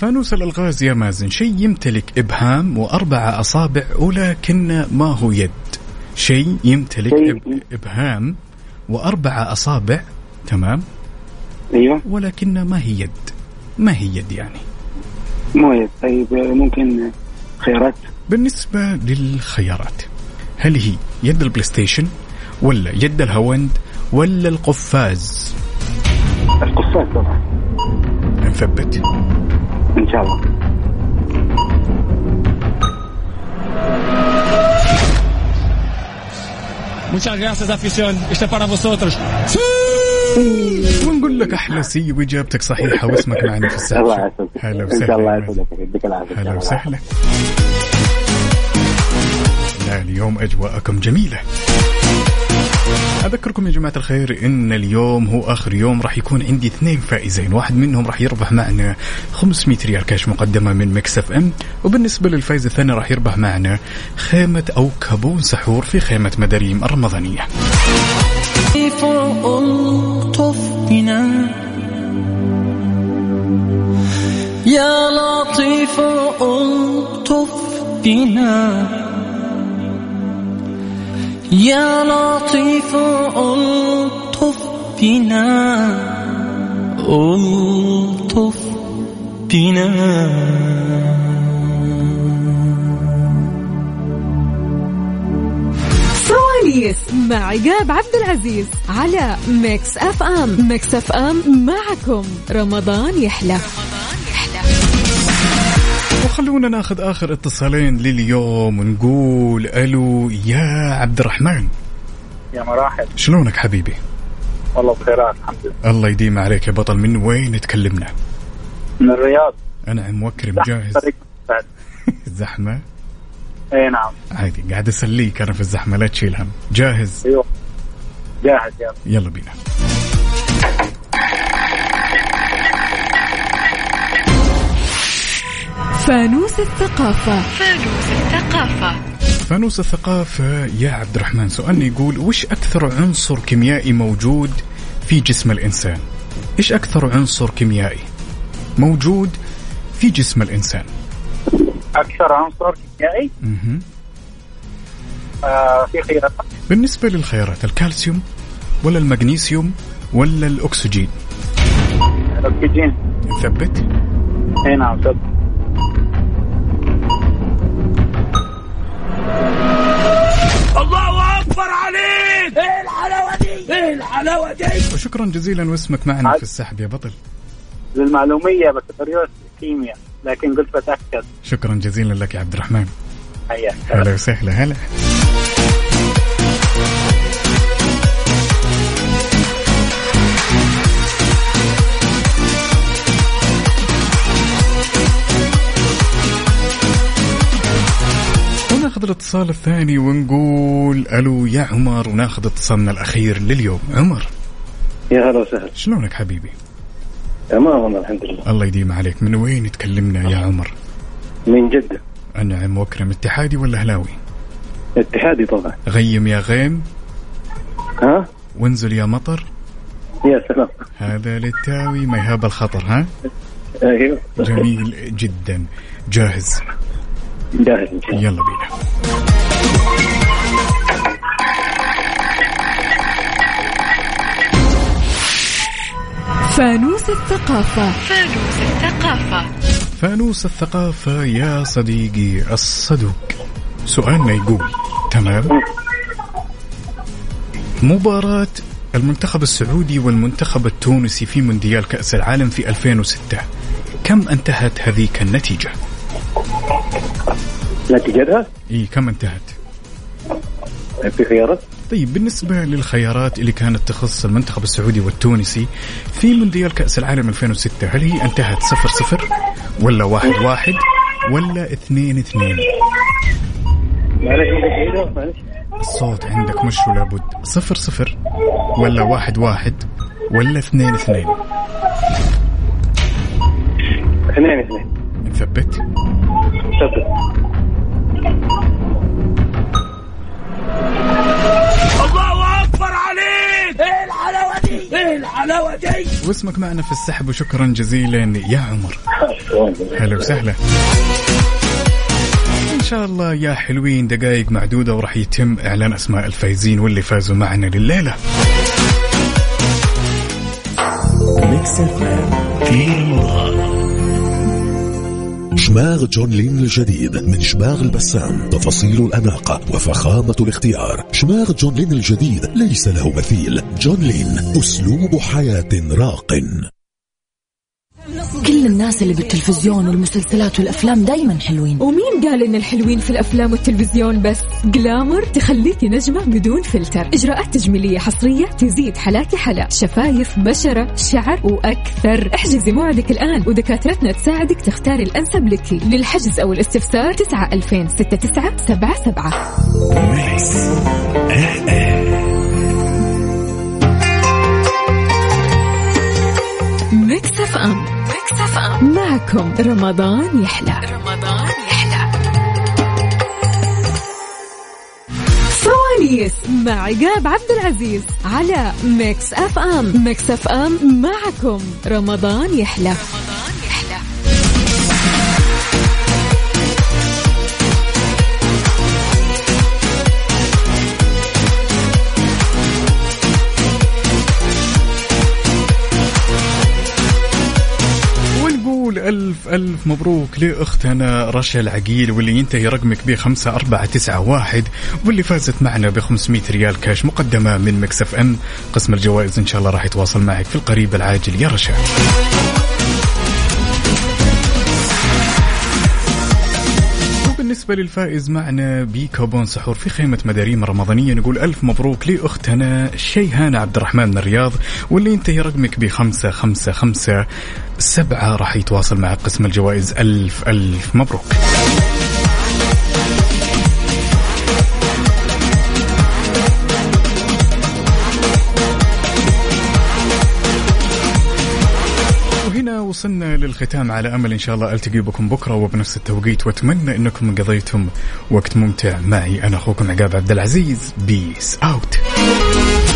D: فانوس الالغاز يا مازن شيء يمتلك ابهام واربع اصابع ولكن ما هو يد شيء يمتلك إب... ابهام واربع اصابع تمام
Q: ايوه
D: ولكن ما هي يد ما هي يد يعني
Q: مويه طيب آه، ممكن خيارات
D: بالنسبة للخيارات هل هي يد البلاي ستيشن ولا يد الهوند ولا القفاز
Q: القصاص طبعا
D: نثبت
Q: ان شاء الله
I: Muchas gracias, afición. Este es para vosotros.
D: ونقول لك احلى سي واجابتك صحيحه واسمك معنا في
Q: الله
D: الساعه
Q: يعافيك
D: هلا
Q: ان شاء الله
D: وسهلا يا مازن.
Q: يسعدك يديك العافيه
D: هلا وسهلا لا اليوم اجواءكم جميله اذكركم يا جماعه الخير ان اليوم هو اخر يوم راح يكون عندي اثنين فائزين واحد منهم راح يربح معنا 500 ريال كاش مقدمه من مكس اف ام وبالنسبه للفائز الثاني راح يربح معنا خيمه او كابون سحور في خيمه مداريم الرمضانيه
A: فوق ألطف بنا يا لطيف ألطف بنا يا لطيف ألطف بنا ألطف بنا
C: سواليس مع عقاب عبد العزيز على ميكس اف ام ميكس اف ام معكم رمضان يحلى
D: وخلونا ناخذ اخر اتصالين لليوم ونقول الو يا عبد الرحمن
W: يا مراحل
D: شلونك حبيبي
W: والله بخيرات الحمد لله
D: الله يديم عليك يا بطل من وين تكلمنا
W: من الرياض
D: انا موكرم جاهز
W: طريق بعد
D: الزحمه
W: اي نعم
D: عادي قاعد اسليك انا في الزحمه لا تشيل هم جاهز
W: ايوه جاهز يلا
D: يلا بينا
C: فانوس الثقافة
N: فانوس الثقافة
D: فانوس الثقافة يا عبد الرحمن سؤالنا يقول وش أكثر عنصر كيميائي موجود في جسم الإنسان إيش أكثر عنصر كيميائي موجود في جسم الإنسان
W: اكثر عنصر كيميائي
D: مهم.
G: Eh,
W: آه في خيارات
D: بالنسبة للخيارات الكالسيوم ولا المغنيسيوم ولا الأكسجين
W: اكسجين
D: نثبت
W: اي نعم طب
B: الله اكبر عليك ايه الحلاوه دي ايه الحلاوه دي
D: وشكرا جزيلا واسمك معنا في السحب يا بطل
W: للمعلوميه بكالوريوس كيمياء لكن قلت بتاكد
D: شكرا جزيلا لك يا عبد الرحمن
W: هيا
D: هلا وسهلا هلا وناخذ الاتصال الثاني ونقول الو يا عمر وناخذ اتصالنا الاخير لليوم عمر
E: يا هلا وسهلا
D: شلونك حبيبي
E: تمام والله الحمد لله
D: الله يديم عليك من وين تكلمنا يا عمر
E: من جدة
D: انعم واكرم اتحادي ولا اهلاوي
E: اتحادي طبعا
D: غيم يا غيم
E: ها
D: وانزل يا مطر
E: يا سلام
D: هذا للتاوي ما يهاب الخطر ها
E: ايوه
D: جميل جدا جاهز
E: جاهز ان شاء الله
D: يلا بينا
C: فانوس الثقافة
N: فانوس الثقافة
D: فانوس الثقافة يا صديقي الصدوق سؤالنا يقول تمام مباراة المنتخب السعودي والمنتخب التونسي في مونديال كأس العالم في 2006 كم انتهت هذيك النتيجة؟
E: نتيجتها
D: إيه كم انتهت؟
E: في خيارات
D: طيب بالنسبة للخيارات اللي كانت تخص المنتخب السعودي والتونسي في مونديال كأس العالم 2006 هل هي انتهت 0 0 ولا 1 1 ولا 2 2
E: معلش عندك عيدة؟ معلش
D: الصوت عندك مش ولا بد 0 0 ولا 1 1 ولا 2 2
E: اثنين اثنين
D: نثبت
E: تفضل
B: الله اكبر عليك ايه الحلاوه دي ايه الحلاوه دي
D: واسمك معنا في السحب وشكرا جزيلا يا عمر هلا وسهلا ان شاء الله يا حلوين دقائق معدودة وراح يتم اعلان اسماء الفايزين واللي فازوا معنا لليلة
A: ميكس اف ام في رمضان
F: شماغ جون لين الجديد من شماغ البسام تفاصيل الأناقة وفخامة الاختيار شماغ جون لين الجديد ليس له مثيل جون لين أسلوب حياة راق
X: كل الناس اللي بالتلفزيون والمسلسلات والافلام دايما حلوين
C: ومين قال ان الحلوين في الافلام والتلفزيون بس جلامر تخليكي نجمة بدون فلتر اجراءات تجميلية حصرية تزيد حلاكي حلا شفايف بشرة شعر واكثر احجزي موعدك الان ودكاترتنا تساعدك تختاري الانسب لك للحجز او الاستفسار 9 2000 6977
A: ميكس اف ام
C: ميكس اف ام ميكس اف ام معكم رمضان يحلى رمضان يحلى فوانيس مع عقاب عبد العزيز على ميكس اف ام ميكس اف ام معكم رمضان يحلى رمضان يحلى
D: ونقول ألف ألف مبروك لأختنا رشا العقيل واللي ينتهي رقمك ب 5491 واللي فازت معنا ب 500 ريال كاش مقدمة من مكسف أم قسم الجوائز إن شاء الله راح يتواصل معك في القريب العاجل يا رشا بالنسبة للفائز معنا بكوبون سحور في خيمة مداريم رمضانية نقول ألف مبروك لأختنا شيهان عبد الرحمن من الرياض واللي ينتهي رقمك بخمسة خمسة خمسة سبعة راح يتواصل مع قسم الجوائز ألف ألف مبروك وصلنا للختام على امل ان شاء الله التقي بكم بكره وبنفس التوقيت واتمنى انكم قضيتم وقت ممتع معي انا اخوكم عقاب عبد العزيز بيس اوت